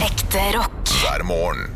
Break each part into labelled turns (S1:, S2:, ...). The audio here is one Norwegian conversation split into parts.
S1: Ekte rock.
S2: hver morgen.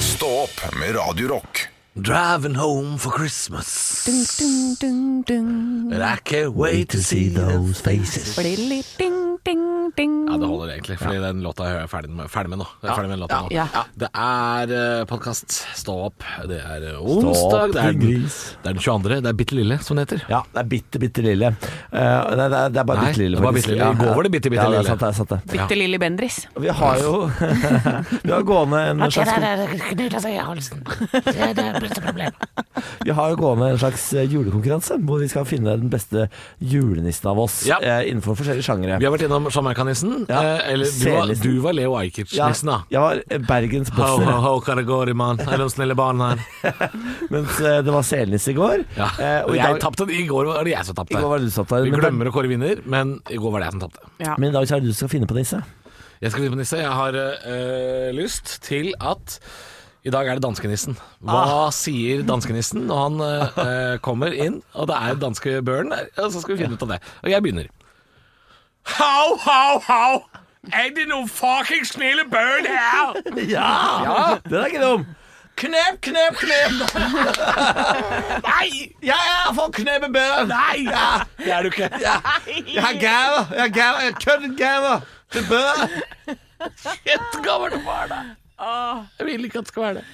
S2: Stå opp med Radio Rock.
S3: Driving home for Christmas.
S4: Dun, dun, dun, dun.
S3: And I can't wait to see those faces.
S4: Blilli, ding, ding, ding.
S5: Ja, det holder egentlig, fordi den låta er jeg ferdig med, ferdig med nå. Jeg er ferdig med den låta nå.
S4: ja, ja.
S5: Det er podkast Stå opp. Det er eh, onsdag. Det er,
S3: din
S5: den,
S3: gris.
S5: det er den 22. Det er Bitte Lille, som det heter.
S3: Ja, det er bitte, bitte lille. Eh, nei, det er, det er bare
S5: Nei,
S3: bitte lille.
S5: det var
S3: faktisk.
S5: bitte lille. I går var det bitte, bitte
S3: ja, Ja,
S5: lille.
S3: det er sant det. Er sant, det.
S4: Bitte lille Bendris.
S3: Og Vi har jo Vi har gående en slags, vi har jo gående en slags eh, julekonkurranse hvor vi skal finne den beste julenissen av oss
S5: Ja.
S3: eh, innenfor forskjellige sjangere.
S5: Vi har vært innom Sjamarkanissen.
S3: Ja.
S5: eh, Eller du var,
S3: Selnissen.
S5: du var Leo Ajkic-nissen, da.
S3: jeg var eh, Bergens
S5: Ho, ho,
S3: bosser,
S5: ho, hva det går i, mann. Er de snille barna her?
S3: mens eh, det var selnisse i går.
S5: Ja.
S3: Eh, og i
S5: jeg
S3: dag,
S5: tapte. I går var det jeg som tapte.
S3: I går var det du som tapte,
S5: Vi
S3: men-
S5: glemmer å kåre vinner, men i går var det jeg som tapte.
S4: Ja.
S3: men i dag så er det du som skal finne på disse.
S5: Jeg skal begynne på nisse. Jeg har eh, lyst til at i dag er det danskenissen. Hva sier danskenissen når han eh, kommer inn, og det er danske børn der? Og så skal vi finne ut av det. Og jeg begynner. Hau, hau, hau! Er det noen fucking snille børn her?
S3: Ja! Den er ikke dum! Knep, knep, knep!
S5: Nei!
S3: Jeg er for knebebøen!
S5: Nei! Det er du ikke.
S3: Jeg har gaver! Jeg har gaver! Jeg kødder gaver! Til bøen!
S5: Et gammelt barn, da. Jeg vil ikke at det skal være det.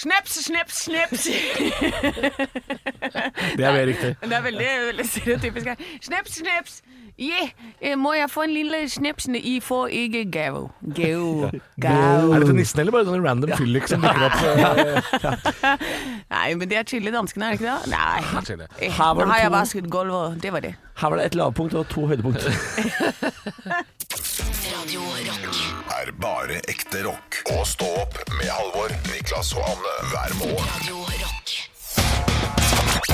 S4: Snips, snips, snips.
S5: Det er mer riktig.
S4: Det er veldig, veldig stereotypisk her. Snips, snips. Yeah. Eh, Må jeg få en lille snips? I får ikke gave. Gave. Gave.
S5: Er dette nissen eller bare sånn random fyllik som dukker opp? eh,
S4: Nei, men det er chille danskene, er det ikke det? Nei.
S5: kanskje det?
S4: Eh,
S3: Her var det
S4: Nå har jeg
S3: to-
S4: vasket gulvet. Det var det.
S3: Her var det et lavpunkt og to høydepunkt.
S1: Radio Rock.
S2: Er bare ekte rock. Og stå opp med Halvor, Niklas og Anne hver morgen.
S1: Radio Rock.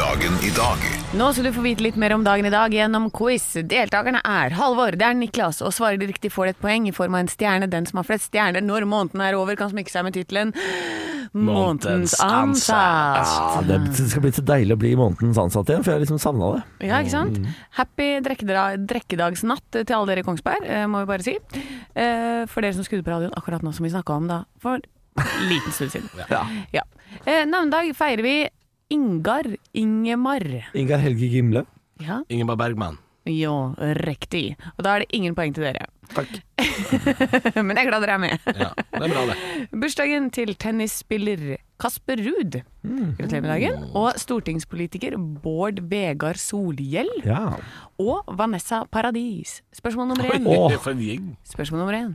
S2: Dagen i dag.
S4: Nå skal du få vite litt mer om dagen i dag gjennom quiz. Deltakerne er Halvor, det er Niklas, og svarer de riktig får de et poeng i form av en stjerne. Den som har flest stjerner når måneden er over, kan smykke seg med tittelen Månedens
S5: Månedens
S4: ansatt.
S3: Ja, det
S5: Ah.
S3: skal bli så deilig å bli månedens ansatt igjen, for jeg har liksom savna det.
S4: Ja, ikke sant? Happy drekkedra- drekkedagsnatt til alle dere i Kongsberg, eh, må vi bare si. Eh, For dere som skrudde på radioen akkurat nå som vi snakka om da, for en liten stund siden.
S3: Ja.
S4: Ja. Eh, Navnedag feirer vi Ingar Ingemar.
S3: Ingar Helge Gimle.
S4: Ja.
S5: Ingeborg Bergman.
S4: Jo, riktig. Og da er det ingen poeng til dere.
S3: Takk.
S4: Men jeg er glad dere er med.
S5: Ja, det er bra, det.
S4: Bursdagen til tennisspiller Kasper Ruud. Gratulerer med dagen. Og stortingspolitiker Bård Vegar Solhjell.
S3: Ja.
S4: Og Vanessa Paradis. Spørsmål nummer én.
S3: Åh.
S5: For en gjeng.
S4: Spørsmål nummer én.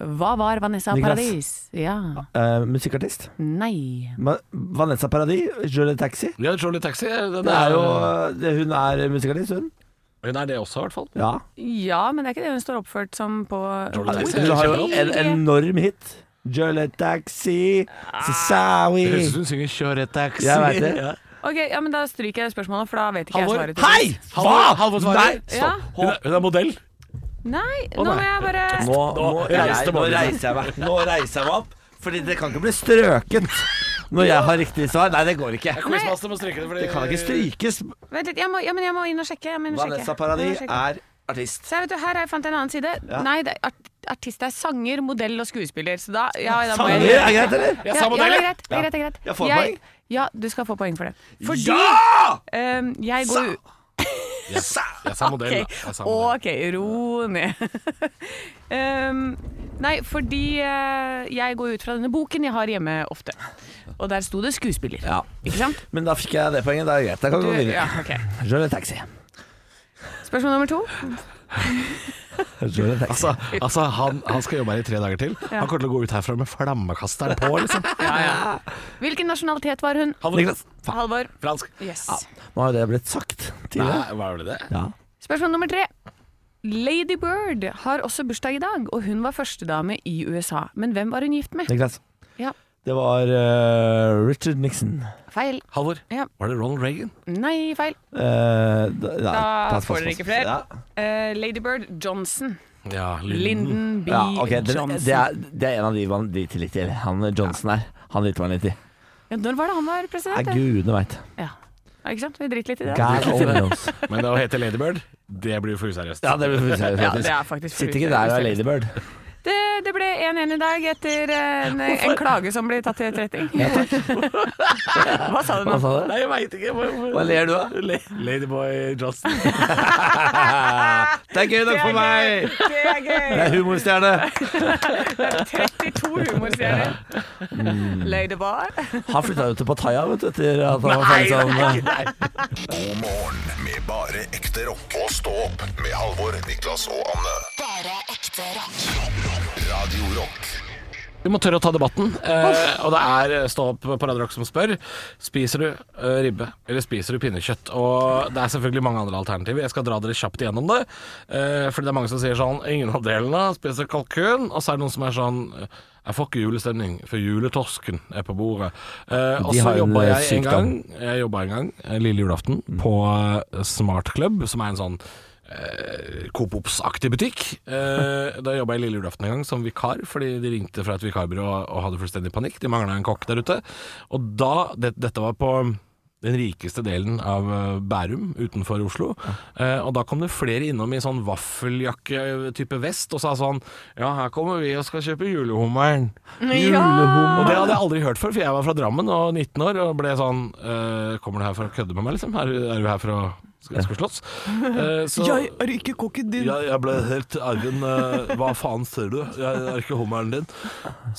S4: Hva var Vanessa
S3: Niklas.
S4: Paradis? Ja.
S3: Eh, musikkartist.
S4: Nei.
S3: Ma Vanessa Paradis. Je le taxi.
S5: Ja, Trolley Taxi. Den
S3: Det er jo, det, hun er musikartist, hun.
S5: Hun er det også, i hvert fall.
S3: Ja.
S4: Ja, men det er ikke det hun står oppført som på
S5: Tror du det?
S3: Hun har jo en enorm hit. Je le taxi,
S5: Jeg
S3: Sasawi
S5: Ah. Høres ut som hun synger 'Kjør et taxi'.
S3: Jeg vet det.
S5: Ja.
S4: Ok, ja, men Da stryker jeg spørsmålet, for da vet ikke jeg
S5: Halvor,
S4: svaret. til
S3: Hei!
S4: slutt.
S3: Hva?!
S5: Halvor- Halvor svarer.
S3: Nei!
S4: Ja.
S3: Stopp.
S5: Hun, er, hun er modell.
S4: Nei, nå må jeg bare
S3: Nå, nå,
S5: Nå
S3: reiser,
S5: reiste
S3: nå,
S5: Magnus.
S3: reiser jeg meg. nå reiser jeg meg opp, Fordi det kan ikke bli strøket når jeg har riktig svar. Nei, det går ikke.
S5: Quizmaster må stryke det. Fordi,
S3: Det kan ikke strykes.
S4: Vent litt, jeg må, ja, men jeg må inn og sjekke. Jeg må inn og
S3: Vanessa
S4: sjekke. Jeg må
S3: Paradis
S4: sjekke.
S3: er artist.
S4: Så jeg vet du, Her har jeg fant en annen side. Nei, det er art artist er sanger, modell og skuespiller. Så da, ja, da må
S3: Sanger
S4: jeg
S3: er greit, eller?
S4: ja,
S5: sa
S4: ja,
S5: modell,
S4: det er
S5: jeg.
S4: greit. Det er greit, det er greit.
S3: Jeg får poeng.
S4: Ja, du skal få poeng for det. Fordi
S3: Ja!
S4: ehm, jeg går ut
S5: Jeg, jeg sa modell, da. Jeg sa modell.
S4: OK, ro ned. Ehm, nei, fordi eh, jeg går ut fra denne boken jeg har hjemme ofte. Og der sto det skuespiller.
S3: Ja.
S4: Ikke sant?
S3: Men da fikk jeg det poenget. Det er greit. Jeg kan
S4: Du,
S3: gå
S4: ja,
S3: videre.
S4: ok.
S3: Je le taxi.
S4: Spørsmål nummer to.
S3: Je le taxi.
S5: Altså, altså han, han skal jobbe her i tre dager til. Han kommer til å gå ut herfra med flammekasteren på, liksom.
S4: Hvilken nasjonalitet var hun?
S5: Halvor,
S3: Niklas. Faen.
S4: Halvor.
S5: Fransk.
S4: Yes.
S3: Nå har jo det blitt sagt tidligere.
S5: Nei, var det det?
S3: Ja.
S4: Spørsmål nummer tre. Lady Bird har også bursdag i dag, og hun var førstedame i USA. Men hvem var hun gift med?
S3: Niklas.
S4: Ja.
S3: Det var eh, Richard Nixon.
S4: Feil.
S5: Halvor,
S4: Ja.
S5: var det Ronald Reagan?
S4: Nei, feil.
S3: Eh, da nei,
S4: Da
S3: pass,
S4: får
S3: pass,
S4: dere
S3: pass.
S4: ikke flere.
S3: Ja.
S4: Eh, Lady Bird Johnson.
S5: Ja,
S4: Lyndon B.
S3: Mm. Ja, ok, det,
S4: Johnson.
S3: det, er, det er en av de man driter litt i. eller? Han Johnson her. Han driter man litt i.
S4: Ja, når var det han var
S3: Nei,
S4: president? ja?
S3: gudene veit.
S4: Ja. Ja, Ikke sant? Vi driter litt i det. da.
S3: God only knows.
S5: Men det å hete Ladybird, det blir for useriøst.
S3: Ja, det blir for
S4: Ja, det er faktisk for
S3: Sitter ikke der og er
S4: useriøst.
S3: ladybird.
S4: Det, det ble 1-1 i dag etter eh, en, en klage som ble tatt til etterretning. Hva sa du nå?
S3: Hva sa du?
S5: Nei, jeg veit ikke. Hva,
S3: Hva ler du av?
S5: Le Ladyboy Justin.
S3: Det er gøy nok for meg!
S4: Det er gøy!
S3: Det er humorstjerne.
S4: 32 humorserier.
S3: Mm.
S4: Ladyboy.
S3: Han flytta jo til Pattaya, vet du, etter at han var ferdig sånn
S2: God morgen med bare ekte rock. Og stå opp med Halvor, Niklas og Anne.
S1: Bare ekte rock.
S2: Radio Rock.
S5: Vi må tørre å ta debatten. Eh, og det er eh, Stå opp på Radio Rock som spør. Spiser du eh, ribbe, eller spiser du pinnekjøtt? Og det er selvfølgelig mange andre alternativer. Jeg skal dra dere kjapt igjennom det. Eh, fordi det er mange som sier sånn Ingen av delene. Spiser kalkun. Og så er det noen som er sånn jeg får ikke julestemning før juletorsken er på bordet. Eh, og
S3: De
S5: så
S3: har en,
S5: jobba
S3: eh,
S5: jeg en
S3: sykdom.
S5: gang Jeg jobba en gang, eh, lille julaften, på eh, Smart Club, som er en sånn eh, Coop Ops-aktig butikk. Eh, da jobba jeg lille julaften en gang som vikar, fordi de ringte fra et vikarbyrå og, og hadde fullstendig panikk. De mangla en kokk der ute. Og da det, Dette var på den rikeste delen av eh, Bærum utenfor Oslo. Eh, og da kom det flere innom i sånn vaffeljakke-type vest og sa sånn Ja, her kommer vi og skal kjøpe julehummeren. Og det hadde jeg aldri hørt før, for jeg var fra Drammen og 19 år og ble sånn eh, Kommer du her for å kødde med meg, liksom? Er, du- er du her for å skal, skal slåss? Eh, så-
S3: er ikke kokken din.
S5: jeg, jeg ble helt arven eh, Hva faen ser du? Jeg er ikke hummeren din.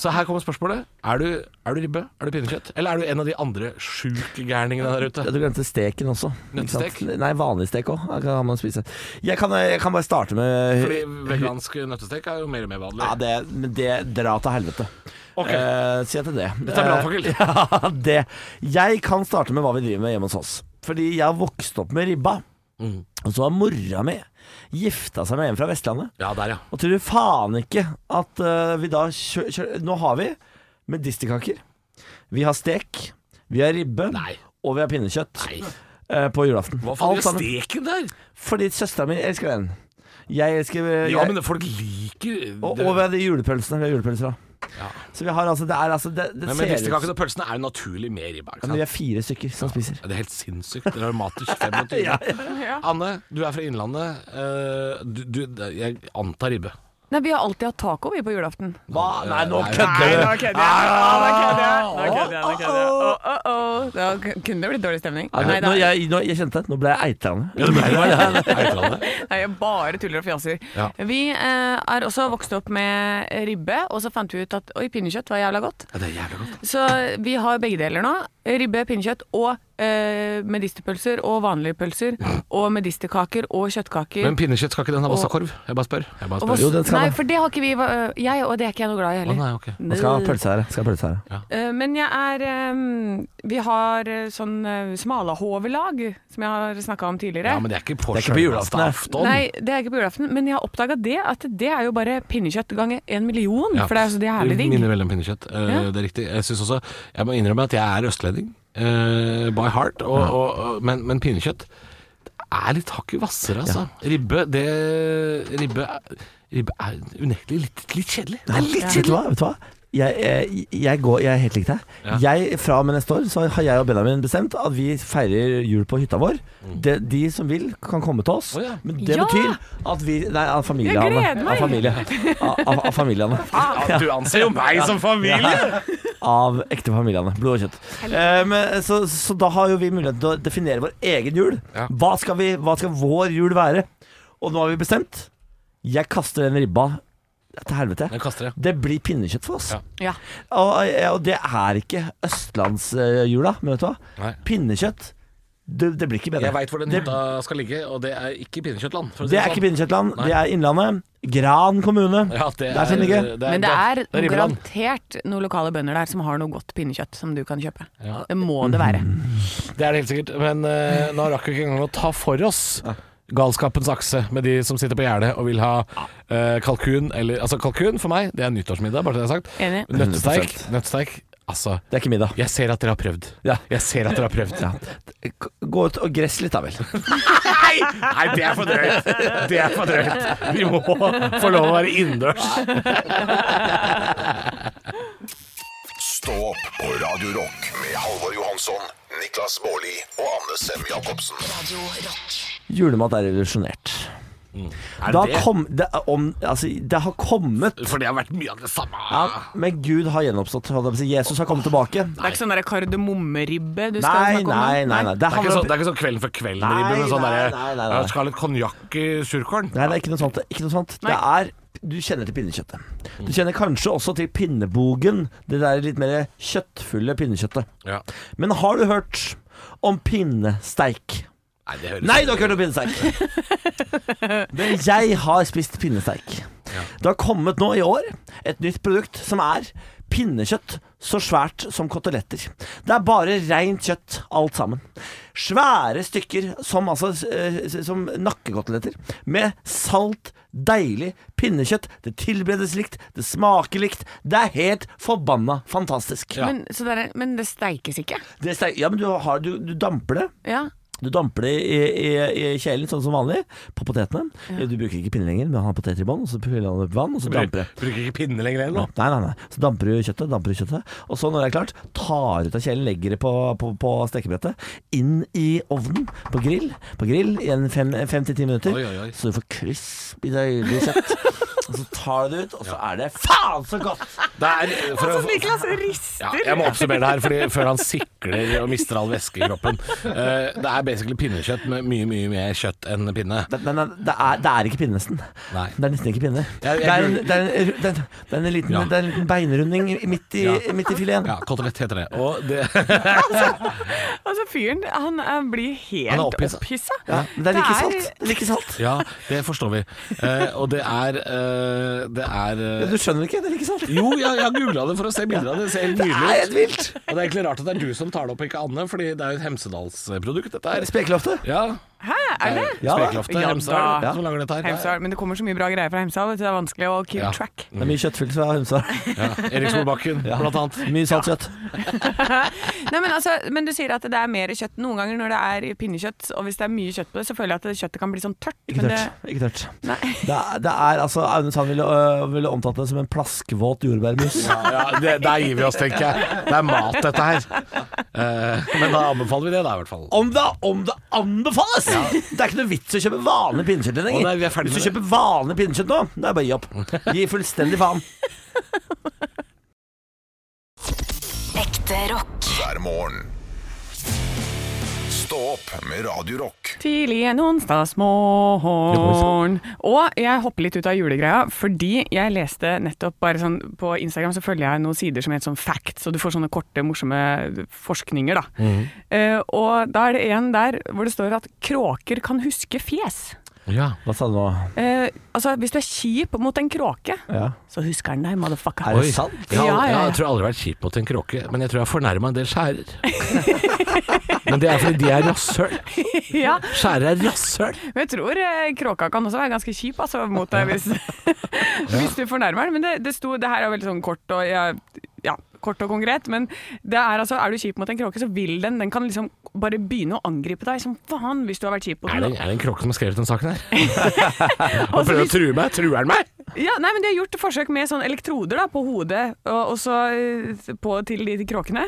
S5: Så her kommer spørsmålet. Er du, er du ribbe? Er du pinnekjøtt? Eller er du en av de andre sjukgærningene der ute?
S3: Du glemte steken også. ikke sant?
S5: Nøttestek?
S3: Nei, vanlig stek òg. Kan man spise. Jeg kan, jeg kan bare starte med
S5: Fordi vegansk nøttestek er jo mer og mer vanlig.
S3: Ja, det, men det dra til helvete.
S5: Ok.
S3: Eh, si etter det.
S5: Dette er brannfakkel.
S3: Eh, Ja, det. Jeg kan starte med hva vi driver med hjemme hos oss. Fordi jeg har vokst opp med ribba.
S5: Mm.
S3: Og så har mora mi gifta seg med en fra Vestlandet.
S5: Ja, der, ja.
S3: Og tror du faen ikke at eh, vi da kjører Nå har vi medisterkaker. Vi har stek. Vi har ribbe.
S5: Nei.
S3: Og vi har pinnekjøtt
S5: Nei.
S3: eh, på julaften.
S5: Hva faen
S3: Alt
S5: gjør
S3: sammen.
S5: steken der?
S3: Fordi søstera mi elsker den. Jeg elsker eh,
S5: Ja,
S3: jeg-
S5: men folk liker
S3: og, og vi har de julepølsene. Vi har julepølser da. Så vi har altså Det er altså det, det
S5: Men
S3: ser ut
S5: medisterkakene og pølsene er jo naturlig mer i bak.
S3: ja, men vi er fire stykker som spiser.
S5: Det er helt sinnssykt. Det er dramatisk 25. Anne, du er fra Innlandet. Eh, Du, du, jeg antar ribbe.
S4: Nei, vi har alltid hatt taco vi på julaften.
S3: Hva? Nei, nå
S5: Nei,
S3: kødder du!
S4: Åh, Da k- kunne det blitt dårlig stemning.
S3: Nei,
S4: Nei,
S3: nå,
S4: da,
S3: jeg, nå, jeg kjente det. Nå ble jeg eitrende.
S4: nei, jeg bare tuller og fjaser.
S5: Ja.
S4: Vi eh, er også vokst opp med ribbe, og så fant vi ut at oi, pinnekjøtt var jævla godt.
S5: Ja, det er jævlig godt.
S4: Så vi har begge deler nå. Ribbe, pinnekjøtt og eh, medisterpølser og vanlige pølser. Og medisterkaker og kjøttkaker.
S5: Men pinnekjøtt, skal ikke den ha vassakorv? Jeg bare spør. Jeg bare
S4: og hva-
S5: spør.
S3: Jo, den skal
S4: nei,
S3: det.
S4: for det har ikke vi eh, Jeg og det er ikke jeg noe glad i
S5: Å,
S4: heller.
S5: nei, ok.
S3: Nå skal jeg ha pølse her. Skal jeg ha pølse her.
S4: Eh, Men jeg er eh, Vi har eh, sånn eh, smalahovelag, som jeg har snakka om tidligere.
S5: Ja, men sånn. det er ikke på,
S3: Det er ikke på
S5: sjølveste
S3: julaften, det.
S5: aften.
S4: Nei, det er ikke på julaften, men jeg har oppdaga det, at det er jo bare pinnekjøtt ganger en million.
S5: Ja.
S4: For det er jo så det er jævlig digg.
S5: minner veldig om pinnekjøtt. Eh,
S4: Ja.
S5: Det er riktig. Jeg synes også Jeg må innrømme at jeg er østlending eh, by heart, og, og, og, men, men pinnekjøtt det er litt hakket hvassere, altså. Ribbe, det Ribbe er- Ribbe er unektelig litt, litt kjedelig. Det er litt
S3: Vet du hva? Vet du hva? Jeg, jeg, jeg, går, jeg er helt lik deg. Jeg, fra og med neste år så har jeg og Benjamin bestemt at vi feirer jul på hytta vår. De, de som vil, kan komme til oss.
S5: Mm. Å, ja.
S3: Men det
S4: Ja!
S3: betyr at vi Nei, av familiene.
S4: Jeg gleder
S3: Av,
S4: meg!
S3: familie, av, av, av familiene.
S5: Ja, du anser jo meg som familie!
S3: Av ekte familiene. Blod og kjøtt. Eh, men, så, så da har jo vi mulighet til å definere vår egen jul.
S5: Ja.
S3: Hva, skal vi, hva skal vår jul være? Og nå har vi bestemt. Jeg kaster den ribba til helvete.
S5: Jeg kaster det.
S3: Det blir pinnekjøtt for oss.
S5: Ja.
S4: Ja.
S3: Og, og det er ikke østlandsjula, men vet du hva?
S5: Nei.
S3: Pinnekjøtt, det, det blir ikke bedre.
S5: Jeg veit hvor den
S3: Det-
S5: hytta skal ligge, og det er ikke pinnekjøttland. for å si
S3: Det er ikke
S5: sånn.
S3: Pinnekjøttland,
S5: Nei.
S3: det er Innlandet. Gran kommune.
S5: Ja, det
S3: Der finner jeg ikke.
S5: det
S4: Men det er
S5: er Ribbeland.
S4: garantert noen lokale bønder der som har noe godt pinnekjøtt som du kan kjøpe.
S5: Ja.
S4: Det må det være.
S5: Mm. Det er det helt sikkert. Men eh, nå rakk vi ikke engang å ta for oss galskapens akse med de som sitter på gjerdet og vil ha eh, kalkun eller Altså, kalkun for meg, det er nyttårsmiddag, bare så det er sagt.
S4: Enig.
S5: Nøttesteik,
S3: 100%.
S5: nøttesteik Altså,
S3: Det er ikke middag.
S5: jeg ser at dere har prøvd.
S3: Ja.
S5: Jeg ser at dere har prøvd.
S3: K- Gå ut og gress litt, da vel.
S5: Nei! Nei, det er for drøyt. Det er for drøyt. Vi må få lov å være innendørs.
S2: Stå opp på Radio Rock med Halvor Johansson, Niklas Baarli og Anne Sem Jacobsen.
S1: Radio Rock.
S3: Julemat er revolusjonert.
S5: Mm. Er
S3: Det,
S5: det
S3: har
S5: det?
S3: kom, det, er om, altså, det har kommet
S5: For det har vært mye av det samme.
S3: ja, Men Gud har gjenoppstått. holdt jeg på å si. Jesus har kommet tilbake.
S4: Det er ikke sånn der kardemommeribbe du skal
S3: Nei,
S4: snakke om?
S3: nei, nei. nei. Det
S5: Det er, ikke
S3: handler
S5: sånn,
S3: om
S5: det er ikke sånn Kvelden før
S3: Nei,
S5: kvelden-ribbe, men sånn
S3: nei,
S5: derre
S3: nei, nei, nei.
S5: «Jeg Skal ha litt konjakk i surkålen?
S3: Nei, det er ikke noe sånt. Ikke noe sånt. Det er Du kjenner til pinnekjøttet. Du kjenner kanskje også til pinnebogen. Det der litt mer kjøttfulle pinnekjøttet.
S5: Ja.
S3: Men har du hørt om pinnesteik?
S5: Nei, det høres
S3: Nei, du har ikke hørt om pinnesteik! Men jeg har spist pinnesteik. Det har kommet nå i år et nytt produkt som er pinnekjøtt så svært som koteletter. Det er bare rent kjøtt, alt sammen. Svære stykker som, altså, eh, som nakkekoteletter med salt, deilig pinnekjøtt. Det tilberedes likt, det smaker likt. Det er helt forbanna fantastisk.
S4: Men, så det er, men det steikes ikke?
S3: Det steik- ja, men du, har, du, du damper det.
S4: Ja.
S3: Du damper det i, i, i kjelen, sånn som vanlig, på potetene. Du bruker ikke pinne lenger, men har poteter i bånn, og så fyller han opp vann, og så damper det.
S5: Bruker ikke pinne lenger heller nå.
S3: Nei, nei, nei. Så damper du kjøttet, damper du kjøttet. Og så når det er klart, tar ut av kjelen, legger det på, på, på stekebrettet, inn i ovnen, på grill, på grill i en fem, fem til ti minutter.
S5: Oi, oi, oi.
S3: Så du får crispy, deilig kjøtt. og så tar du det ut, og så er det faen så godt!
S5: Det er, eh, for å-
S4: Altså, Niklas rister!
S5: ja, jeg må oppsummere det her fordi før han sikler og mister all væske i kroppen. Eh, det er basically pinnekjøtt med mye, mye mer kjøtt enn pinne.
S3: Det, nei, nei, det, er, det er ikke pinne, nesten.
S5: Nei.
S3: Det er nesten ikke pinne.
S5: Jeg- jeg
S3: det, er en,
S5: gruer-
S3: det, er en, det, er en, det, er en liten,
S5: Ja.
S3: det er en liten beinrunding i- midt i,
S5: Ja.
S3: midt i fileten.
S5: Ja, kotelett heter det. Og det
S4: Altså, fyren han, eh, blir helt
S5: Han er opphisset.
S4: opphissa.
S3: Ja, men det er like salt. Det er like salt.
S5: Ja, det forstår vi. Eh, og det er eh, Det er eh,
S3: Du skjønner ikke, det er like salt.
S5: Jo, jeg, jeg har googla det for å se bilder av det. Det ser helt
S3: Det er
S5: nydelig ut.
S3: helt vilt.
S5: Og det er egentlig rart at det er du som tar det opp, ikke Anne, fordi det er jo et Hemsedalsprodukt, dette her.
S3: Spekeloftet.
S5: Ja.
S4: Hæ, er det?
S3: Ja,
S5: Spekeloftet,
S4: Ja, da.
S5: Hemsedal,
S4: Ja.
S5: som lager dette her.
S4: Hemsedal, men det kommer så mye bra greier fra Hemsedal, vet du, det er vanskelig å keep
S5: Ja.
S4: track.
S3: Det er mye kjøttfylt fra Hundsvær.
S5: Ja. Erik Solbakken, blant annet.
S3: Mye saltkjøtt.
S4: Nei, men, altså, men du sier at det er mer kjøtt noen ganger når det er pinnekjøtt, og hvis det er mye kjøtt på det, så føler jeg at det- kjøttet kan bli sånn tørt.
S3: Ikke
S4: men
S3: tørt. Ikke tørt.
S4: Det, nei.
S3: Det er, det er altså Aune Sand ville, øh, ville omtalt det som en plaskvåt jordbærmus.
S5: Ja, det, der gir vi oss, tenker jeg. Det er mat, dette her. Eh, men da anbefaler vi det, da, i hvert fall.
S3: Om det, om det anbefales! Det er ikke noe vits å kjøpe vanlig pinnekjøtt
S5: Å,
S3: lenger.
S5: nei, vi er ferdig
S3: Hvis du
S5: med det.
S3: kjøper vanlig pinnekjøtt nå, det er bare å gi opp. Gi fullstendig faen.
S1: Ekte rock.
S2: hver morgen. Stå opp med Radio Rock.
S4: Tidlig en onsdagsmorgen. Og jeg hopper litt ut av julegreia, fordi jeg leste nettopp bare sånn På Instagram så følger jeg noen sider som heter sånn facts, og du får sånne korte, morsomme forskninger, da. Eh, og da er det en der hvor det står at kråker kan huske fjes.
S5: Ja.
S3: Hva sa du nå?
S4: Eh, altså, hvis du er kjip mot en kråke,
S3: Ja.
S4: så husker den deg, motherfucker.
S3: Er det Oi. sant?
S5: Jeg, har-
S4: Ja, ja, ja.
S5: jeg tror jeg aldri har vært kjip mot en kråke, men jeg tror jeg har fornærma en del skjærer. Men det er fordi de er rasshøl.
S4: ja,
S5: Skjærer er rasshøl.
S4: Men jeg tror eh, kråka kan også være ganske kjip altså, mot deg hvis, hvis du fornærmer den. Men det, det, sto, det her er veldig sånn kort og, ja, ja, kort og konkret. Men det er, altså, er du kjip mot en kråke, så vil den Den kan liksom bare begynne å angripe deg som faen hvis du har vært kjip mot
S5: Er det,
S4: den.
S5: er det en kråke som har skrevet den saken her? Han
S4: Og så
S5: prøver å
S4: hvis,
S5: true meg. Truer han meg?
S4: ja, nei, men De har gjort forsøk med sånn elektroder da, på hodet og, og så eh, på, til de kråkene.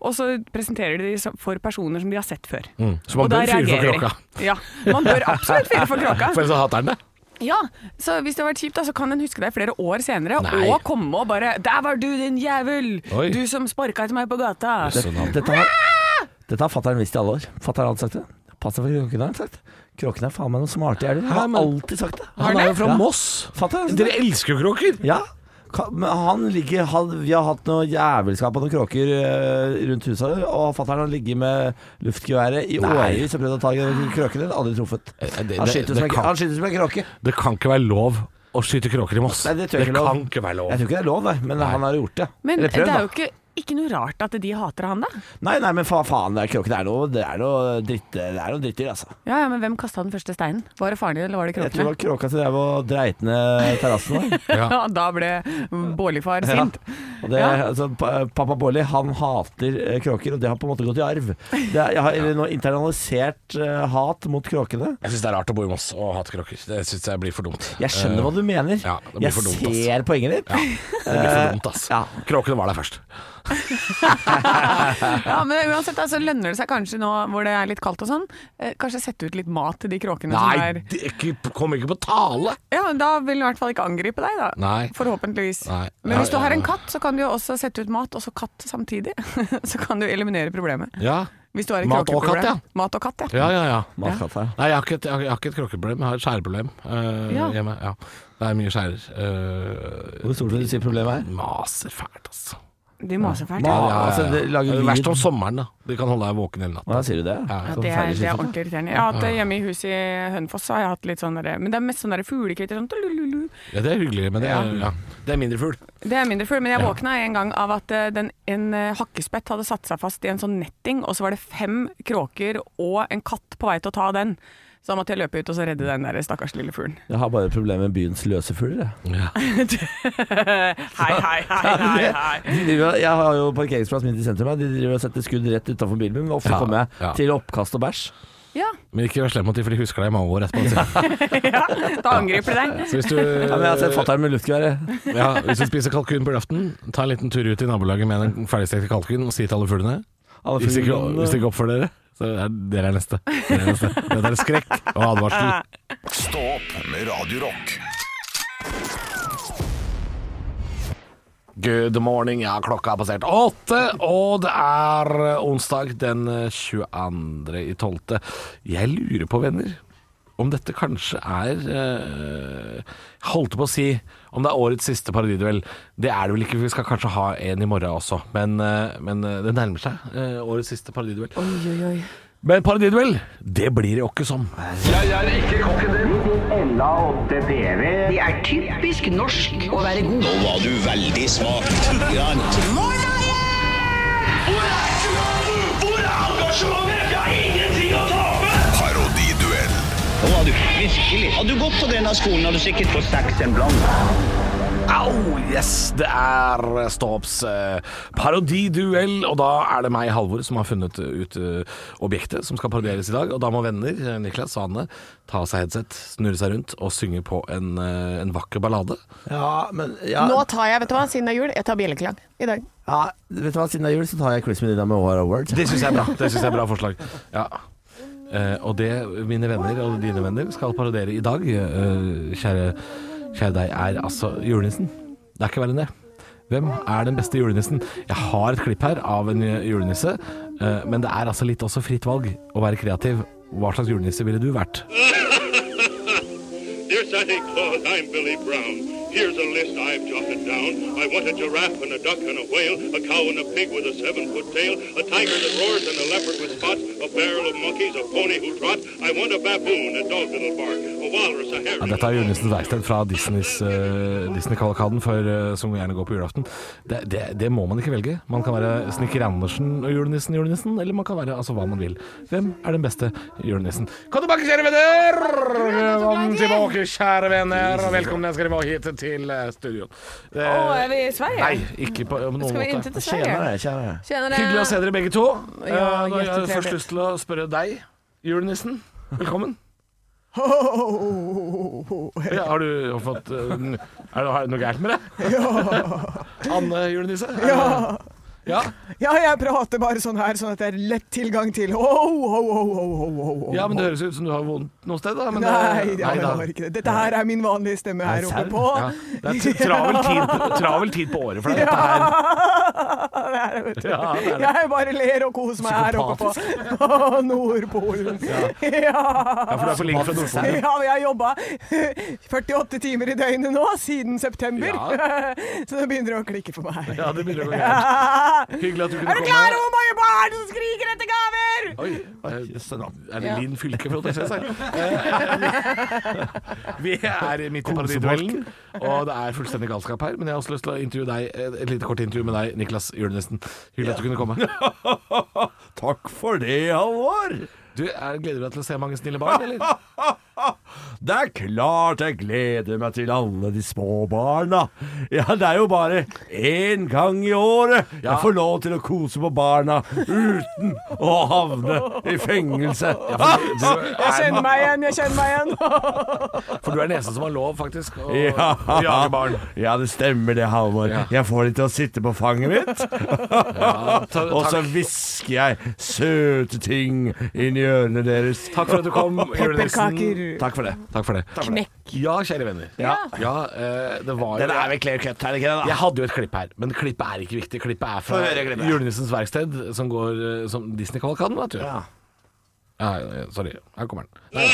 S4: Og så presenterer de de som- for personer som de har sett før.
S3: Mm.
S5: Så man
S4: og da
S5: bør fyre Mm. for
S4: reagerer de.
S5: kråka.
S4: Ja, man bør absolutt fyre for kråka.
S5: For ellers så hater han det.
S4: Ja, så hvis det har vært kjipt, da, så kan en huske deg flere år senere
S5: Nei.
S4: og komme og bare 'Der var du, din jævel!
S5: Oi.
S4: Du som sparka etter meg på gata!'
S5: Yes. Sånn han-
S3: Dette har, dette har fatter'n visst i alle år. Fatter'n har alltid sagt det. Pass deg for kråkene, har han sagt. Kråkene er faen meg noen smarte jævler.
S5: Hæ,
S3: Han
S5: men-
S3: har alltid sagt det.
S5: Han er jo fra
S3: Ja.
S5: Moss.
S3: Fatter'n har sagt det.
S5: Dere elsker jo kråker.
S3: Ja. Ka- Men han ligger, han, vi har hatt noe jævelskap og noen kråker eh, rundt huset, og fatter'n har ligget med luftgeværet i årevis og prøvd å ta kråkene, aldri truffet.
S5: Eh, det-
S3: Han
S5: det-
S3: skyter
S5: det
S3: som en-
S5: kan-
S3: han skyter som en kråke.
S5: Det kan ikke være lov å skyte kråker i Moss.
S3: Nei, det tror jeg ikke er lov.
S5: kan ikke være lov.
S3: Jeg tror ikke det er lov, nei, men han har gjort det.
S4: Men
S3: Eller prøvd,
S4: det
S3: da.
S4: er jo ikke, ikke noe rart at de hater han, da.
S3: Nei, nei, men fa faen, det er kråkene er noe, det er noe dritt, det er noe drittdyr, altså.
S4: Ja, ja, Men hvem kasta den første steinen? Var det faren din, eller var det
S3: Jeg tror det
S4: kråkene?
S3: var kråka som drev og dreit ned terrassen vår.
S5: Ja.
S4: Ja, da ble Bårli-far sint.
S3: Og det,
S4: Ja.
S3: altså, pa- pappa Bårli han hater eh, kråker, og det har på en måte gått i arv. Det er, jeg har eller nå internalisert eh, hat mot kråkene.
S5: Jeg syns det er rart å bo i Moss og hate kråker. Det syns jeg blir for dumt.
S3: Jeg skjønner hva du mener.
S5: Eh, ja, det blir
S3: jeg
S5: for dumt, ass.
S3: ser poenget ditt.
S5: Eh, Det blir for dumt, ass.
S3: Ja.
S5: Kråkene var der først.
S4: Ja, men uansett, altså, lønner det seg kanskje nå hvor det er litt kaldt og sånn, eh, kanskje sette ut litt mat til de kråkene som
S5: Nei,
S4: er
S5: det er ikke- kom ikke på tale!
S4: Ja, men Da vil den i hvert fall ikke angripe deg, da.
S5: Nei.
S4: Forhåpentligvis.
S5: Nei.
S4: Men hvis du
S5: Ja,
S4: har
S5: ja,
S4: en
S5: ja.
S4: katt, så kan du jo også sette ut mat, og så katt samtidig. så kan du eliminere problemet.
S5: Ja,
S4: Hvis du har et
S5: Mat og
S4: kråkeproblem.
S5: katt, ja.
S4: Mat og katt, ja.
S5: ja, ja. ja.
S3: Matkatt her.
S5: Nei, jeg har, ikke et, jeg, har, jeg har ikke et kråkeproblem, jeg har et skjæreproblem eh,
S4: Ja.
S5: hjemme. Ja. Det er mye skjærer. eh,
S3: Hvor stort vil du si problemet er?
S5: maser fælt, altså.
S4: De maser fælt.
S3: Ma-
S4: Ja.
S3: Ja, altså, det lager
S5: er
S3: lyd.
S5: Verst om sommeren, da. De kan holde deg våken hele natta.
S3: Hva sier du det?
S5: Ja,
S4: Ja, det, er, det
S3: sånn.
S4: er ordentlig irriterende. Jeg har hatt det hjemme i huset i Hønefoss, så har jeg hatt litt sånn derre Men det er mest sånn derre fuglekvitter sånn tulululu.
S5: Ja, det er hyggelig, men det er, ja. det er mindre fugl.
S4: Det er mindre fugl, men jeg våkna en gang av at eh, den, en eh, hakkespett hadde satt seg fast i en sånn netting, og så var det fem kråker og en katt på vei til å ta den. Så da måtte jeg løpe ut og så redde den der stakkars lille fuglen.
S3: Jeg har bare problemer med byens løse fugler. jeg.
S5: Ja.
S4: hei, hei, hei, hei, hei.
S3: De driver- Jeg har jo parkeringsplass midt i sentrum. her. De driver og setter skudd rett utenfor bilen min. men Ofte
S5: Ja,
S3: kommer jeg
S5: ja.
S3: til oppkast og bæsj.
S4: Ja,
S5: Men ikke vær slem mot dem, for de husker deg i mange år etterpå. Så
S4: ja, da angriper de deg.
S5: hvis du,
S3: Ja, men jeg har sett fatter'n med luftgevær. jeg.
S5: ja, hvis du spiser kalkun på julaften, ta en liten tur ut i nabolaget med den ferdigstekte kalkunen og si til alle fuglene
S3: Alle
S5: Hvis ikke,
S3: fuglene-
S5: hvis ikke oppfører dere, så er dere er neste. Dere er neste. Dette er skrekk og advarsel.
S2: Stå opp med Radio Rock.
S5: Good morning, ja, klokka er passert åtte, og det er eh, onsdag den eh, 22. i 12. Jeg lurer på, venner, om dette kanskje er eh, Holdt på å si om det er årets siste parodiduell. Det er det vel ikke, for vi skal kanskje ha en i morgen også, men, eh, men eh, det nærmer seg eh, årets siste parodiduell. Men parodiduell, det blir det åkke som.
S6: Det er typisk norsk å være god.
S7: Nå var du veldig smak. Grann.
S8: Hvor er engasjementet? Vi har ingenting å tape!
S2: Parodiduell.
S7: Nå var du virkelig. Hadde du gått på denne skolen, hadde du sikkert fått seks en blant.
S5: Au, yes! Det er Ståps eh, parodiduell, og da er det meg, Halvor, som har funnet ut eh, objektet som skal parodieres i dag. Og da må venner, eh, Niklas og Anne, ta av seg headset, snurre seg rundt og synge på en, eh, en vakker ballade.
S3: Ja, men ja,
S4: Nå tar jeg, vet du hva, siden det er jul, jeg tar bjelleklang i dag.
S3: ja, Vet du hva, siden det er jul, så tar jeg Chris Medina med War Award.
S5: Det syns jeg er bra. Det synes jeg er bra forslag. Ja. Eh, og det, mine venner og dine venner, skal parodiere i dag, eh, kjære, kjære deg, er altså julenissen. Det er ikke verre enn det. Hvem er den beste julenissen? Jeg har et klipp her av en julenisse, eh, men det er altså litt også fritt valg å være kreativ. Hva slags julenisse ville du vært?
S8: Dear Santa Claus, I'm Billy Brown. Here's a list I've jotted down. I want a giraffe and a duck and a whale, a cow and a pig with a seven-foot tail, a tiger that roars and a leopard with spots, a barrel of monkeys, a pony who trots. I want a baboon, a dog that'll bark, a walrus, a hare.
S5: Ja,
S8: and a
S5: dette er
S8: hawk.
S5: julenissens verksted fra Disneys, eh, Disney-kavalkaden, for, eh, som gjerne går på julaften. Det, det, det må man ikke velge. Man kan være Snekker Andersen og julenissen, julenissen, eller man kan være altså, hva man vil. Hvem er den beste julenissen? Kom tilbake, kjære venner! Kom tilbake, kjære venner, og velkommen skal dere være hit til eh, studio. Eh,
S4: Å, er vi i Sverige?
S5: Nei, ikke på på noen
S4: Skal vi
S5: måte.
S4: inntil til Sverige?
S3: Tjenere, tjenere.
S4: Tjenere.
S5: Hyggelig å se dere begge to. Eh,
S4: Eh,
S5: da har
S4: Ja,
S5: jeg
S4: hjertetrevlig.
S5: først lyst til å spørre deg, julenissen. Velkommen. Ja, har du fått eh, n- Er det er det noe gærent med det? Anne julenisse? er det- Ja.
S9: Ja, jeg prater bare sånn her, sånn at det er lett tilgang til ho, ho, ho, ho, ho, ho, ho.
S5: ja, men det høres ut som du har vondt noe sted, da. Men,
S9: Nei,
S5: eh,
S9: det har jeg
S5: da.
S9: bare ikke det. Dette her er min vanlige stemme her oppe på.
S5: Ja, det er t- travel tid, travel tid på året for deg, dette her.
S9: Det er det, vet du.
S5: Ja, det er det.
S9: Jeg bare ler og koser meg her oppe på, på Nordpolen. Ja.
S5: Ja, for du er på link fra Nordpolen.
S9: Ja, men jeg har jobba 48 timer i døgnet nå siden september,
S5: Ja.
S9: så det begynner å klikke for meg.
S5: Ja, det begynner å gå gærent.
S9: Er
S5: Hyggelig at du kunne
S9: du
S5: komme.
S9: klar over hvor mange barn som skriker etter gaver?
S5: Oi, eh, er det Linn Fylke fra Odda, synes jeg? Eh, Vi er midt i paradiduellen, og det er fullstendig galskap her. Men jeg har også lyst til å intervjue deg, eh, et lite kort intervju med deg, Niklas Julenissen. Hyggelig at du kunne komme.
S3: Takk for det, Halvor.
S5: Du, er, Gleder du deg til å se mange snille barn, eller?
S3: Det er klart jeg gleder meg til alle de små barna. Ja, det er jo bare én gang i året jeg får lov til å kose på barna uten å havne i fengelse.
S9: Jeg kjenner meg igjen, jeg kjenner meg igjen.
S5: For du er den eneste som har lov, faktisk, å
S3: Ja.
S5: å jage barn.
S3: Ja, det stemmer det, Halvor.
S5: Ja.
S3: Jeg får de til å sitte på fanget mitt,
S5: Ta-
S3: og så
S5: takk,
S3: hvisker jeg søte ting inn i ørene deres.
S5: takk for at du kom, Jørgen Nilsen.
S9: Pepperkaker.
S3: Takk for det.
S5: Takk for det. Ja, kjære venner.
S3: Ja.
S5: eh, det var jo
S3: Den er vel clear cut, er det ikke
S9: Ah.
S3: det?
S5: Jeg hadde jo et klipp her, men klippet er ikke viktig. Klippet er fra
S3: Få høre klippet.
S5: Julenissens verksted, som går eh, som Disney-kavalkaden, vet du.
S3: da?
S5: Ja. eh, sorry. Her kommer den.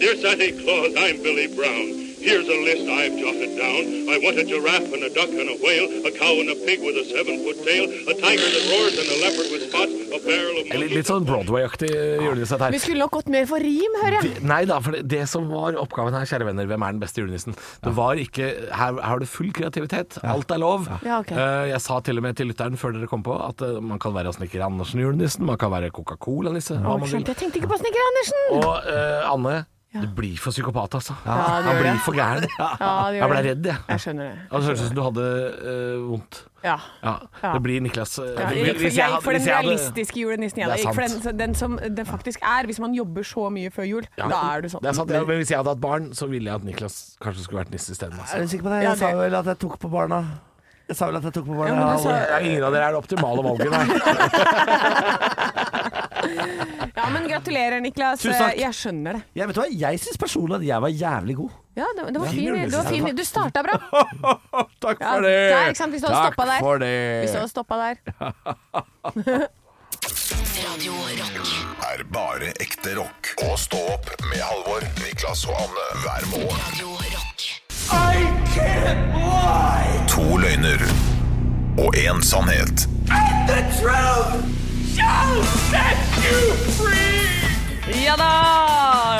S8: Dear Santa Claus, I'm Billy Brown. Here's a list I've jotted down. I want a giraffe and a duck and a whale, a cow and a pig with a seven-foot tail, a tiger that roars and a leopard with spots, a barrel of
S5: Litt,
S8: monkeys.
S5: litt sånn Broadway-aktig julenisse dette her.
S9: Vi skulle nok gått mer for rim, hører jeg.
S5: Det- Nei da, for det, det som var oppgaven her, kjære venner, hvem er den beste julenissen? Det var ikke Her, her har du full kreativitet. Alt er lov.
S9: Ja, ok.
S5: Eh, jeg sa til og med til lytteren før dere kom på at eh, man kan være Snekker Andersen-julenissen, man kan være Coca-Cola-nisse. hva man vil.
S9: Skjønte, jeg tenkte ikke på Snekker Andersen.
S5: Og eh, Anne, du blir for psykopat, altså.
S9: Ja, det
S5: Han
S9: gjør
S5: blir
S9: det.
S5: for gæren.
S9: Ja, det
S5: Jeg
S9: gjør
S5: ble
S9: det.
S5: redd, jeg.
S9: Jeg skjønner det.
S5: Ja, Det hørtes ut som du hadde eh, vondt.
S9: Ja.
S5: Ja,
S9: Ja.
S5: Det blir Niklas. eh,
S9: Ja,
S5: hvis
S9: jeg, gikk for, jeg gikk for den
S5: hvis jeg hadde-
S9: realistiske julenissen. Jeg,
S5: Det er
S9: jeg gikk for
S5: sant.
S9: den, den som det faktisk er. Hvis man jobber så mye før jul,
S5: Ja.
S9: da er du sånn.
S5: Det er sant, ja, men Hvis jeg hadde hatt barn, så ville jeg at Niklas kanskje skulle vært nisse isteden. Altså.
S3: Er du sikker på det?
S9: Ja,
S3: Jeg
S9: det-
S3: sa vel at jeg tok på barna. Jeg sa vel at jeg tok på barna.
S9: men du sa-
S3: Halvor.
S5: Ja, altså- Ingen av dere er det optimale valget, nei.
S9: Ja, men gratulerer, Niklas.
S3: Tusen takk.
S9: Jeg skjønner det.
S3: Jeg vet du hva, jeg syns personlig at jeg var jævlig god.
S9: Ja, det, det var
S3: Ja,
S9: fin.
S3: julenissen.
S9: Du, var fin. du starta bra.
S3: Takk
S9: Ja, der, ikke sant? Hvis du hadde stoppa der.
S3: for det.
S9: Hvis du hadde stoppa der.
S1: Radio Rock.
S2: er bare ekte rock. Og stå opp med Halvor, Niklas og Anne hver morgen.
S1: Radio Rock.
S2: To løgner og én sannhet.
S4: Ja da!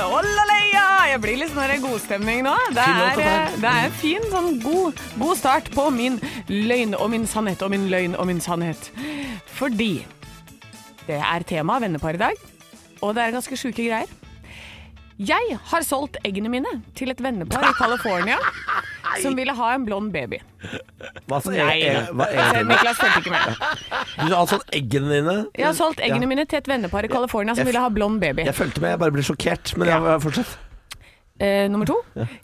S4: Olaleia! Jeg blir litt sånn her godstemning nå. Det er, eh, det er en fin, sånn god, god start på min løgn og min sannhet og min løgn og min sannhet. Fordi det er tema vennepar i dag, og det er ganske sjuke greier. Jeg har solgt eggene mine til et vennepar i California som ville ha en blond baby.
S3: Hva sa
S4: Nei,
S3: altså, jeg? Hva er det?
S4: Niklas fulgte ikke med.
S3: Du sa altså eggene dine?
S4: Jeg har solgt eggene
S3: Ja.
S4: mine til et vennepar i California som
S3: Jeg-
S4: ville ha blond baby.
S3: Jeg fulgte med, jeg bare ble sjokkert. Men jeg, jeg fortsett.
S4: Eh, nummer to.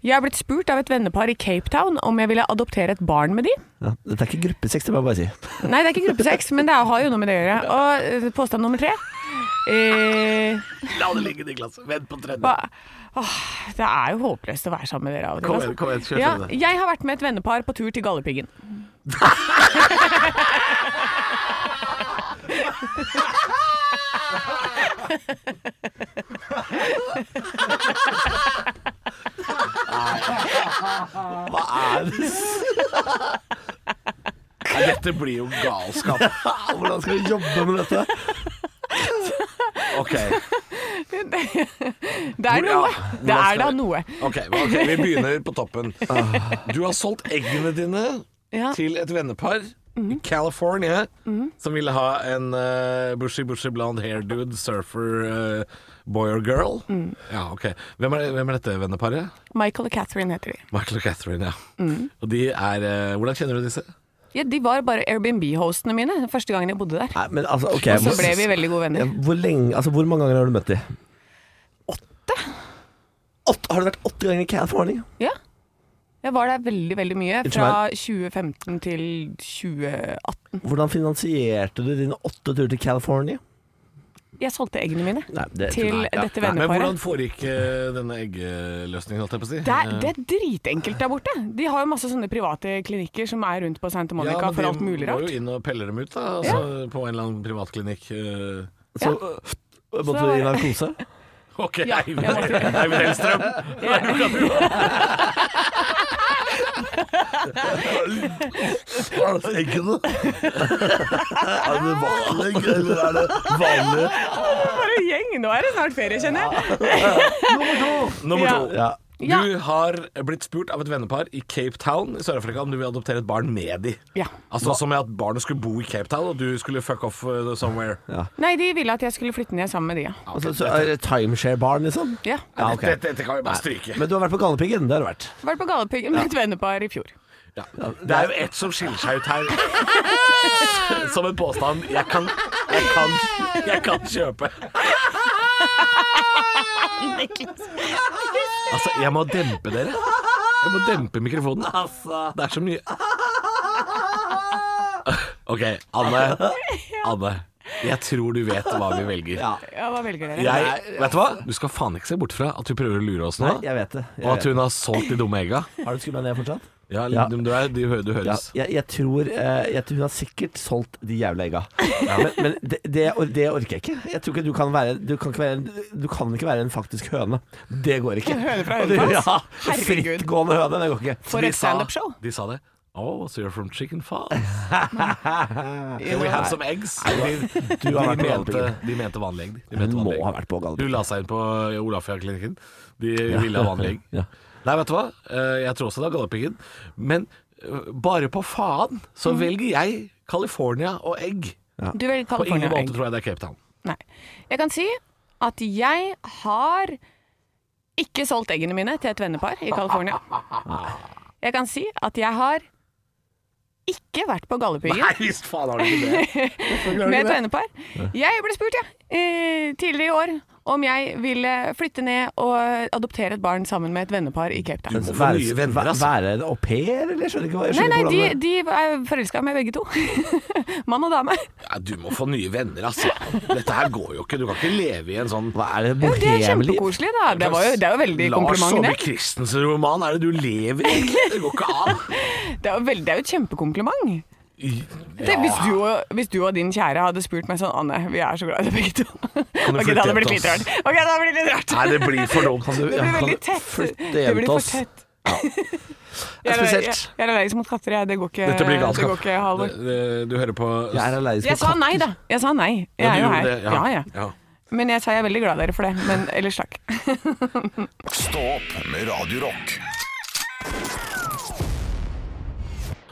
S4: Jeg har blitt spurt av et vennepar i Cape Town om jeg ville adoptere et barn med de.
S3: Ja, dette er ikke gruppesex, det må jeg bare si.
S4: Nei, det er ikke gruppe seks, men det er- har jo noe med det å gjøre. Og eh, påstand nummer tre. Eh,
S5: La det ligge, Niklas. Vent på tredje.
S4: ba, åh, det er jo håpløst å være sammen med dere av og til.
S5: Kom
S4: altså.
S5: igjen, kom igjen, kjør
S4: ja,
S5: tredje.
S4: jeg har vært med et vennepar på tur til Galdhøpiggen.
S3: Hva er det?
S5: Nei, Dette blir jo galskap.
S3: Hvordan skal vi jobbe med dette?
S5: Ok,
S4: Det er
S5: Ja,
S4: noe.
S5: hvordan
S4: Det er
S5: skal
S4: da
S5: vi-
S4: noe.
S5: ok, ok, vi begynner på toppen. Du har solgt eggene dine
S4: Ja. Mhm.
S5: til et vennepar i California som ville ha en eh, bushy, bushy blonde hair dude, surfer, eh, boy or girl.
S4: Mm.
S5: Ja, ok. Hvem er, hvem er dette venneparet?
S4: Michael og Catherine heter de.
S5: Michael og Catherine, ja.
S4: Mm.
S5: Og de er eh, Hvordan kjenner du disse?
S4: Ja, de var bare Airbnb-hostene mine den første gangen jeg bodde der.
S3: Nei, men altså, ok
S4: Og så ble vi veldig gode venner.
S3: Hvor, lenge, altså, hvor mange ganger har du møtt dem? Åtte. Åtte? Har du vært åtte ganger i California?
S4: Ja. Jeg var der veldig, veldig mye.
S3: Unnskyld
S4: Fra 2015 til 2018.
S3: Hvordan finansierte du dine åtte turer til California?
S4: Jeg solgte eggene mine
S3: Nei, det-
S4: til
S3: nei, ja,
S4: dette
S3: nei.
S5: Men hvordan
S4: venneparet.
S5: foregikk eh, denne eggeløsningen, holdt jeg på å si?
S4: Det er, det er dritenkelt der borte. De har jo masse sånne private klinikker som er rundt på Santa Monica
S5: men
S4: for alt mulig
S5: De må
S4: rart.
S5: jo inn og pelle dem ut, da. Altså, På en eller annen privatklinikk. eh.
S3: Så øh, måtte du i narkose?
S5: Ok,
S4: Ja, jeg
S5: Eivind
S4: måtte-
S5: Eivind Hellstrøm.
S3: Eggene? er det vanlig, eller er det vanlig?
S4: For en gjeng! Nå er det snart ferie, kjenner jeg.
S5: Nummer to.
S4: Ja.
S3: Ja.
S4: Ja.
S5: Du har blitt spurt av et vennepar i Cape Town i Sør-Afrika om du vil adoptere et barn med de.
S4: Ja.
S5: Altså Som i at barnet skulle bo i Cape Town, og du skulle fuck off uh, somewhere.
S4: Nei, de ville at jeg skulle flytte ned sammen med de, ja.
S3: Altså, så er det timeshare-barn, liksom?
S4: ja.
S3: Ja, ok.
S5: Dette, dette kan vi bare stryke.
S3: Men du har vært på Galdhøpiggen. Det har du vært.
S4: Vært på Galdhøpiggen med et vennepar i fjor.
S5: Ja. Det er jo ett som skiller seg ut her. Som en påstand jeg kan Jeg kan, jeg kan kjøpe. Altså, jeg må dempe dere. Jeg må dempe mikrofonen.
S3: Altså.
S5: Det er så mye OK, Anne. Anne. Jeg tror du vet hva vi velger.
S4: Ja, hva velger dere?
S5: Jeg, vet du hva? Du skal faen ikke se bort fra at du prøver å lure oss nå.
S3: altså. Nei, jeg vet det. Jeg
S5: Og at
S3: vet.
S5: hun har solgt de dumme egga.
S3: det. Har du skumma ned fortsatt?
S5: Ja,
S3: Ja.
S5: Du, du, er, du, hø- du
S3: Ja,
S5: høres.
S3: jeg, jeg, tror, eh, jeg tror hun har sikkert solgt de jævla egga. Men, men det, det, or- det orker jeg ikke. Jeg tror ikke du kan være Du kan ikke være, en- du kan ikke være en faktisk høne. Det går ikke.
S4: Høne fra
S3: Og du-
S4: Hønefoss?
S3: Ja,
S4: Herregud.
S3: Frittgående høne, det går ikke.
S4: For
S5: De
S4: et
S5: sa-
S4: standup-show.
S5: De sa det. Oh, so you're from Chicken Falls. Can we
S4: Ja.
S5: have some eggs? De,
S3: Du
S5: de,
S3: har vært på
S5: mente,
S3: Galdhøpiggen.
S5: de mente vanlig egg. De
S3: Hun
S5: mente
S3: må
S5: vanlig egg.
S3: ha vært på
S5: Du
S3: Galdhøpiggen.
S5: la seg inn på eh, Olafia-klinikken. De ville ha vanlig egg.
S3: Ja.
S5: Nei, vet du hva? Eh, Jeg tror også det er Galdhøpiggen. Men eh, bare på faen så
S3: Mm.
S5: velger jeg California og egg.
S4: Du velger
S5: På ingen
S4: California.
S5: måte tror jeg det er Cape Town.
S4: Nei. Jeg kan si at jeg har ikke solgt eggene mine til et vennepar i California.
S5: Ah.
S4: Jeg kan si at jeg har ikke vært på Galdhøpiggen
S5: Nei, visst faen har du ikke det.
S4: med et vennepar. Jeg ble spurt, ja, eh, tidligere i år om jeg ville flytte ned og adoptere et barn sammen med et vennepar i Cape Town.
S5: må få
S3: Være,
S5: nye venner,
S3: væ-
S5: altså.
S3: være en au pair, eller? Jeg Skjønner ikke hva jeg
S4: Nei,
S3: skjønner
S4: nei,
S3: ikke
S4: de,
S3: hvordan det-
S4: de er forelska med begge to. Mann og dame.
S5: Ja, du må få nye venner, altså. Dette her går jo ikke. Du kan ikke leve i en sånn
S3: Hva er det
S4: Jo, det er
S3: bohemliv?
S4: kjempekoselig, da. Det, var jo, det er jo veldig kompliment,
S5: Lars Saabye
S4: det.
S5: Christensen roman, er det du lever i? egentlig? Det går ikke an.
S4: Det er jo veldig- det er jo et kjempekompliment.
S5: I-
S4: Det, hvis, du og, hvis du og din kjære hadde spurt meg sånn Anne, vi er så glad i deg begge to.
S5: du
S4: Ok,
S5: flytte
S4: det hadde
S5: hjem
S4: blitt
S5: til
S4: litt
S5: oss?
S4: rart. Ok, det hadde blitt litt rart.
S5: Nei, det blir for dumt.
S3: du-
S4: Det
S3: ja,
S4: blir
S3: kan
S4: veldig
S3: du
S4: tett.
S3: flytte
S4: Det
S3: hjem
S4: blir
S3: til
S4: for
S3: oss?
S4: tett.
S3: er
S4: Jeg jeg-
S3: spesielt.
S4: jeg er allergisk mot katter, jeg. Det går ikke,
S5: Dette blir
S4: det
S5: galskap.
S4: går ikke Halvor.
S5: Det- det- Du hører på
S3: Jeg er allergisk
S4: Jeg
S3: mot
S4: sa
S3: katter.
S4: nei, da. Jeg sa nei. Jeg
S5: Ja,
S4: er
S5: du
S4: jo
S5: gjorde
S4: her.
S5: det,
S4: Ja, ja.
S5: ja.
S4: Men jeg sa jeg er veldig glad i dere for det. Men ellers takk.
S2: Stå opp med Radio Rock.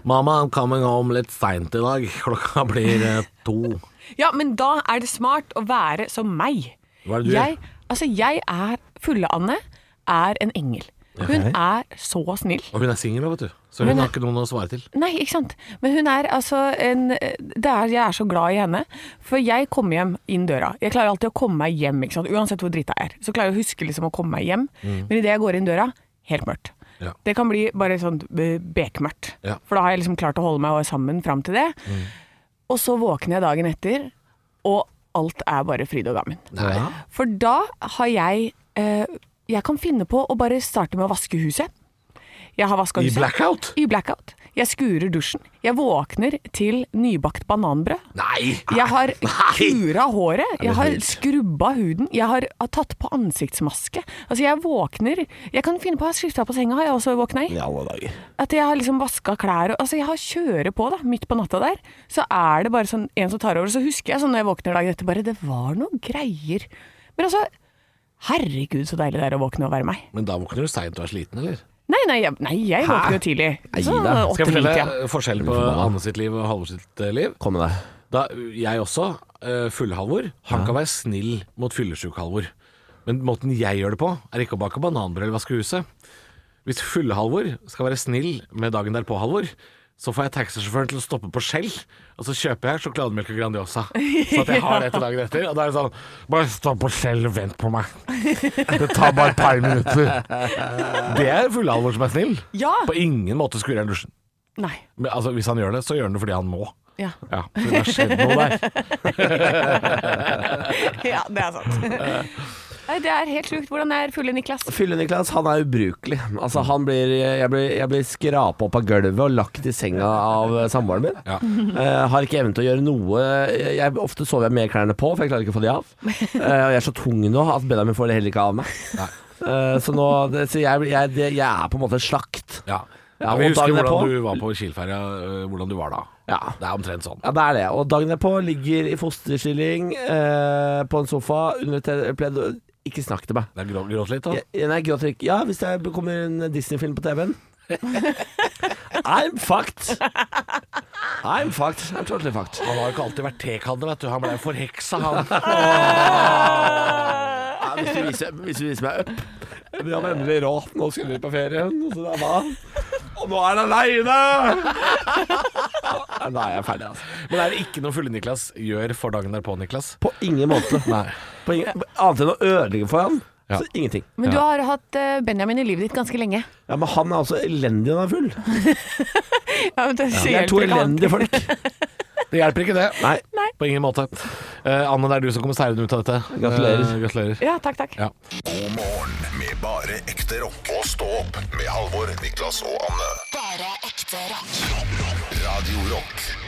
S5: Mamma, I'm coming home litt seint i dag. Klokka blir eh, to.
S4: Ja, men da er det smart å være som meg.
S5: Hva er det du
S4: jeg, Altså, jeg er Fulle-Anne er en engel. Hun er så snill.
S5: Og hun er singel, vet du. Så
S4: Men
S5: hun har
S4: det-
S5: ikke noen å svare til.
S4: Nei, ikke sant. Men hun er altså en det er, Jeg er så glad i henne. For jeg kommer hjem inn døra. Jeg klarer alltid å komme meg hjem, ikke sant? uansett hvor drita jeg er. Så klarer jeg å huske liksom å komme meg hjem. Men idet jeg går inn døra, helt mørkt.
S5: Mm. Ja.
S4: Det kan bli bare sånn eh, bekmørkt.
S5: Ja. Mm.
S4: For da har jeg liksom klart å holde meg sammen fram til det. Og så våkner jeg dagen etter, og alt er bare fryd og gammen. For da har jeg eh, Jeg kan finne på å bare starte med å vaske huset. Jeg har vaska
S5: I
S4: huset.
S5: blackout?
S4: I blackout. Jeg skurer dusjen. Jeg våkner til nybakt bananbrød.
S5: Nei!
S4: Jeg har
S5: Ah, Nei!
S4: kura håret, jeg har
S5: vilt.
S4: skrubba huden, jeg har har tatt på ansiktsmaske. Altså, jeg våkner Jeg kan finne på å ha skifta på senga, har jeg også våkna i.
S3: I alle dager.
S4: At jeg har liksom vaska klær og Altså, jeg har kjøre på, da, midt på natta der. Så er det bare sånn en som tar over. Så husker jeg sånn når jeg våkner dagen etter, bare Det var noe greier. Men altså Herregud, så deilig det er å våkne og være meg.
S5: Men da våkner du seint og er sliten, eller?
S4: Nei, nei, jeg, nei, jeg våkner jo tidlig. Sånn
S3: da.
S5: Skal jeg
S4: åtte-ni-tida.
S5: fortelle eh, forskjellen på Anne sitt liv og Halvor sitt eh, liv?
S3: Kom med deg.
S5: Da, jeg også, eh, Fulle-Halvor, han kan være snill mot fyllesyk-Halvor. Men måten jeg gjør det på, er ikke å bake bananbrød eller vaske huset. Hvis Fulle-Halvor skal være snill med dagen derpå-Halvor, så får jeg taxisjåføren til å stoppe på Skjell, og så kjøper jeg sjokolademelk og Grandiosa. Så at jeg har det til dagen etter. Og da er det sånn Bare stopp på Skjell og vent på meg. Det tar bare et par minutter. Det er Fulle-Halvor som er snill.
S4: Ja!
S5: På ingen måte skurrer han dusjen.
S4: Nei.
S5: Men, altså, hvis han gjør det, så gjør han det fordi han må.
S4: Ja.
S5: Ja, for det har skjedd noe der.
S4: ja, det er sant. Nei, det er helt sjukt. Hvordan er fulle Niklas?
S3: Fylle-Niklas han er ubrukelig. Altså, han blir, jeg blir, jeg blir skrapa opp av gulvet og lagt i senga av eh, samboeren min.
S5: Ja.
S3: Eh, har ikke evne til å gjøre noe. Jeg, ofte sover jeg med klærne på, for jeg klarer ikke å få de av. Eh, og jeg er så tung nå at beina mine får det heller ikke av meg. Eh, så nå, det, så jeg, jeg, det, jeg er på en måte en slakt.
S5: Ja.
S3: Ja,
S5: vi
S3: og
S5: husker
S3: dagen
S5: hvordan
S3: derpå-
S5: du var på Kielferja, øh, hvordan du var da.
S3: Ja.
S5: Det er omtrent sånn.
S3: Ja, det er det. Og dagen derpå ligger i fosterstilling eh, på en sofa under et pledd. ikke snakk til meg.
S5: Det er grå- gråt litt, da.
S3: Ja, nei, gråter ikke. Ja, hvis det kommer en Disney-film på TV-en. I'm fucked. I'm fucked. I'm totally fucked.
S5: Han har jo ikke alltid vært tekanne, vet du. Han ble jo forheksa, han.
S3: Ja, hvis, du viser, hvis du viser meg up Vi har endelig råd. Nå skulle vi på ferien, så det er hva? Og nå er han aleine! Nå er jeg ferdig, altså.
S5: Men er det ikke noe Fulle-Niklas gjør for dagen derpå, Niklas?
S3: På ingen måte. På ingen, annet enn å ødelegge for han.
S5: Ja.
S3: Så ingenting.
S5: Ja.
S10: Men du har hatt eh, Benjamin i livet ditt ganske lenge.
S3: Ja, Men han er også elendig når han er full.
S10: Ja, men det
S3: Vi er to elendige folk.
S5: Det hjelper ikke, det.
S3: Nei.
S5: På ingen måte. Eh, Anne, det er du som kommer seirende ut av dette.
S3: Gratulerer.
S5: Eh, gratulerer.
S4: Ja, takk, takk.
S5: Ja.
S2: God morgen med bare ekte rock. Og stå opp med Halvor, Niklas og Anne.
S1: Bare ekte rock.
S2: Radio Rock.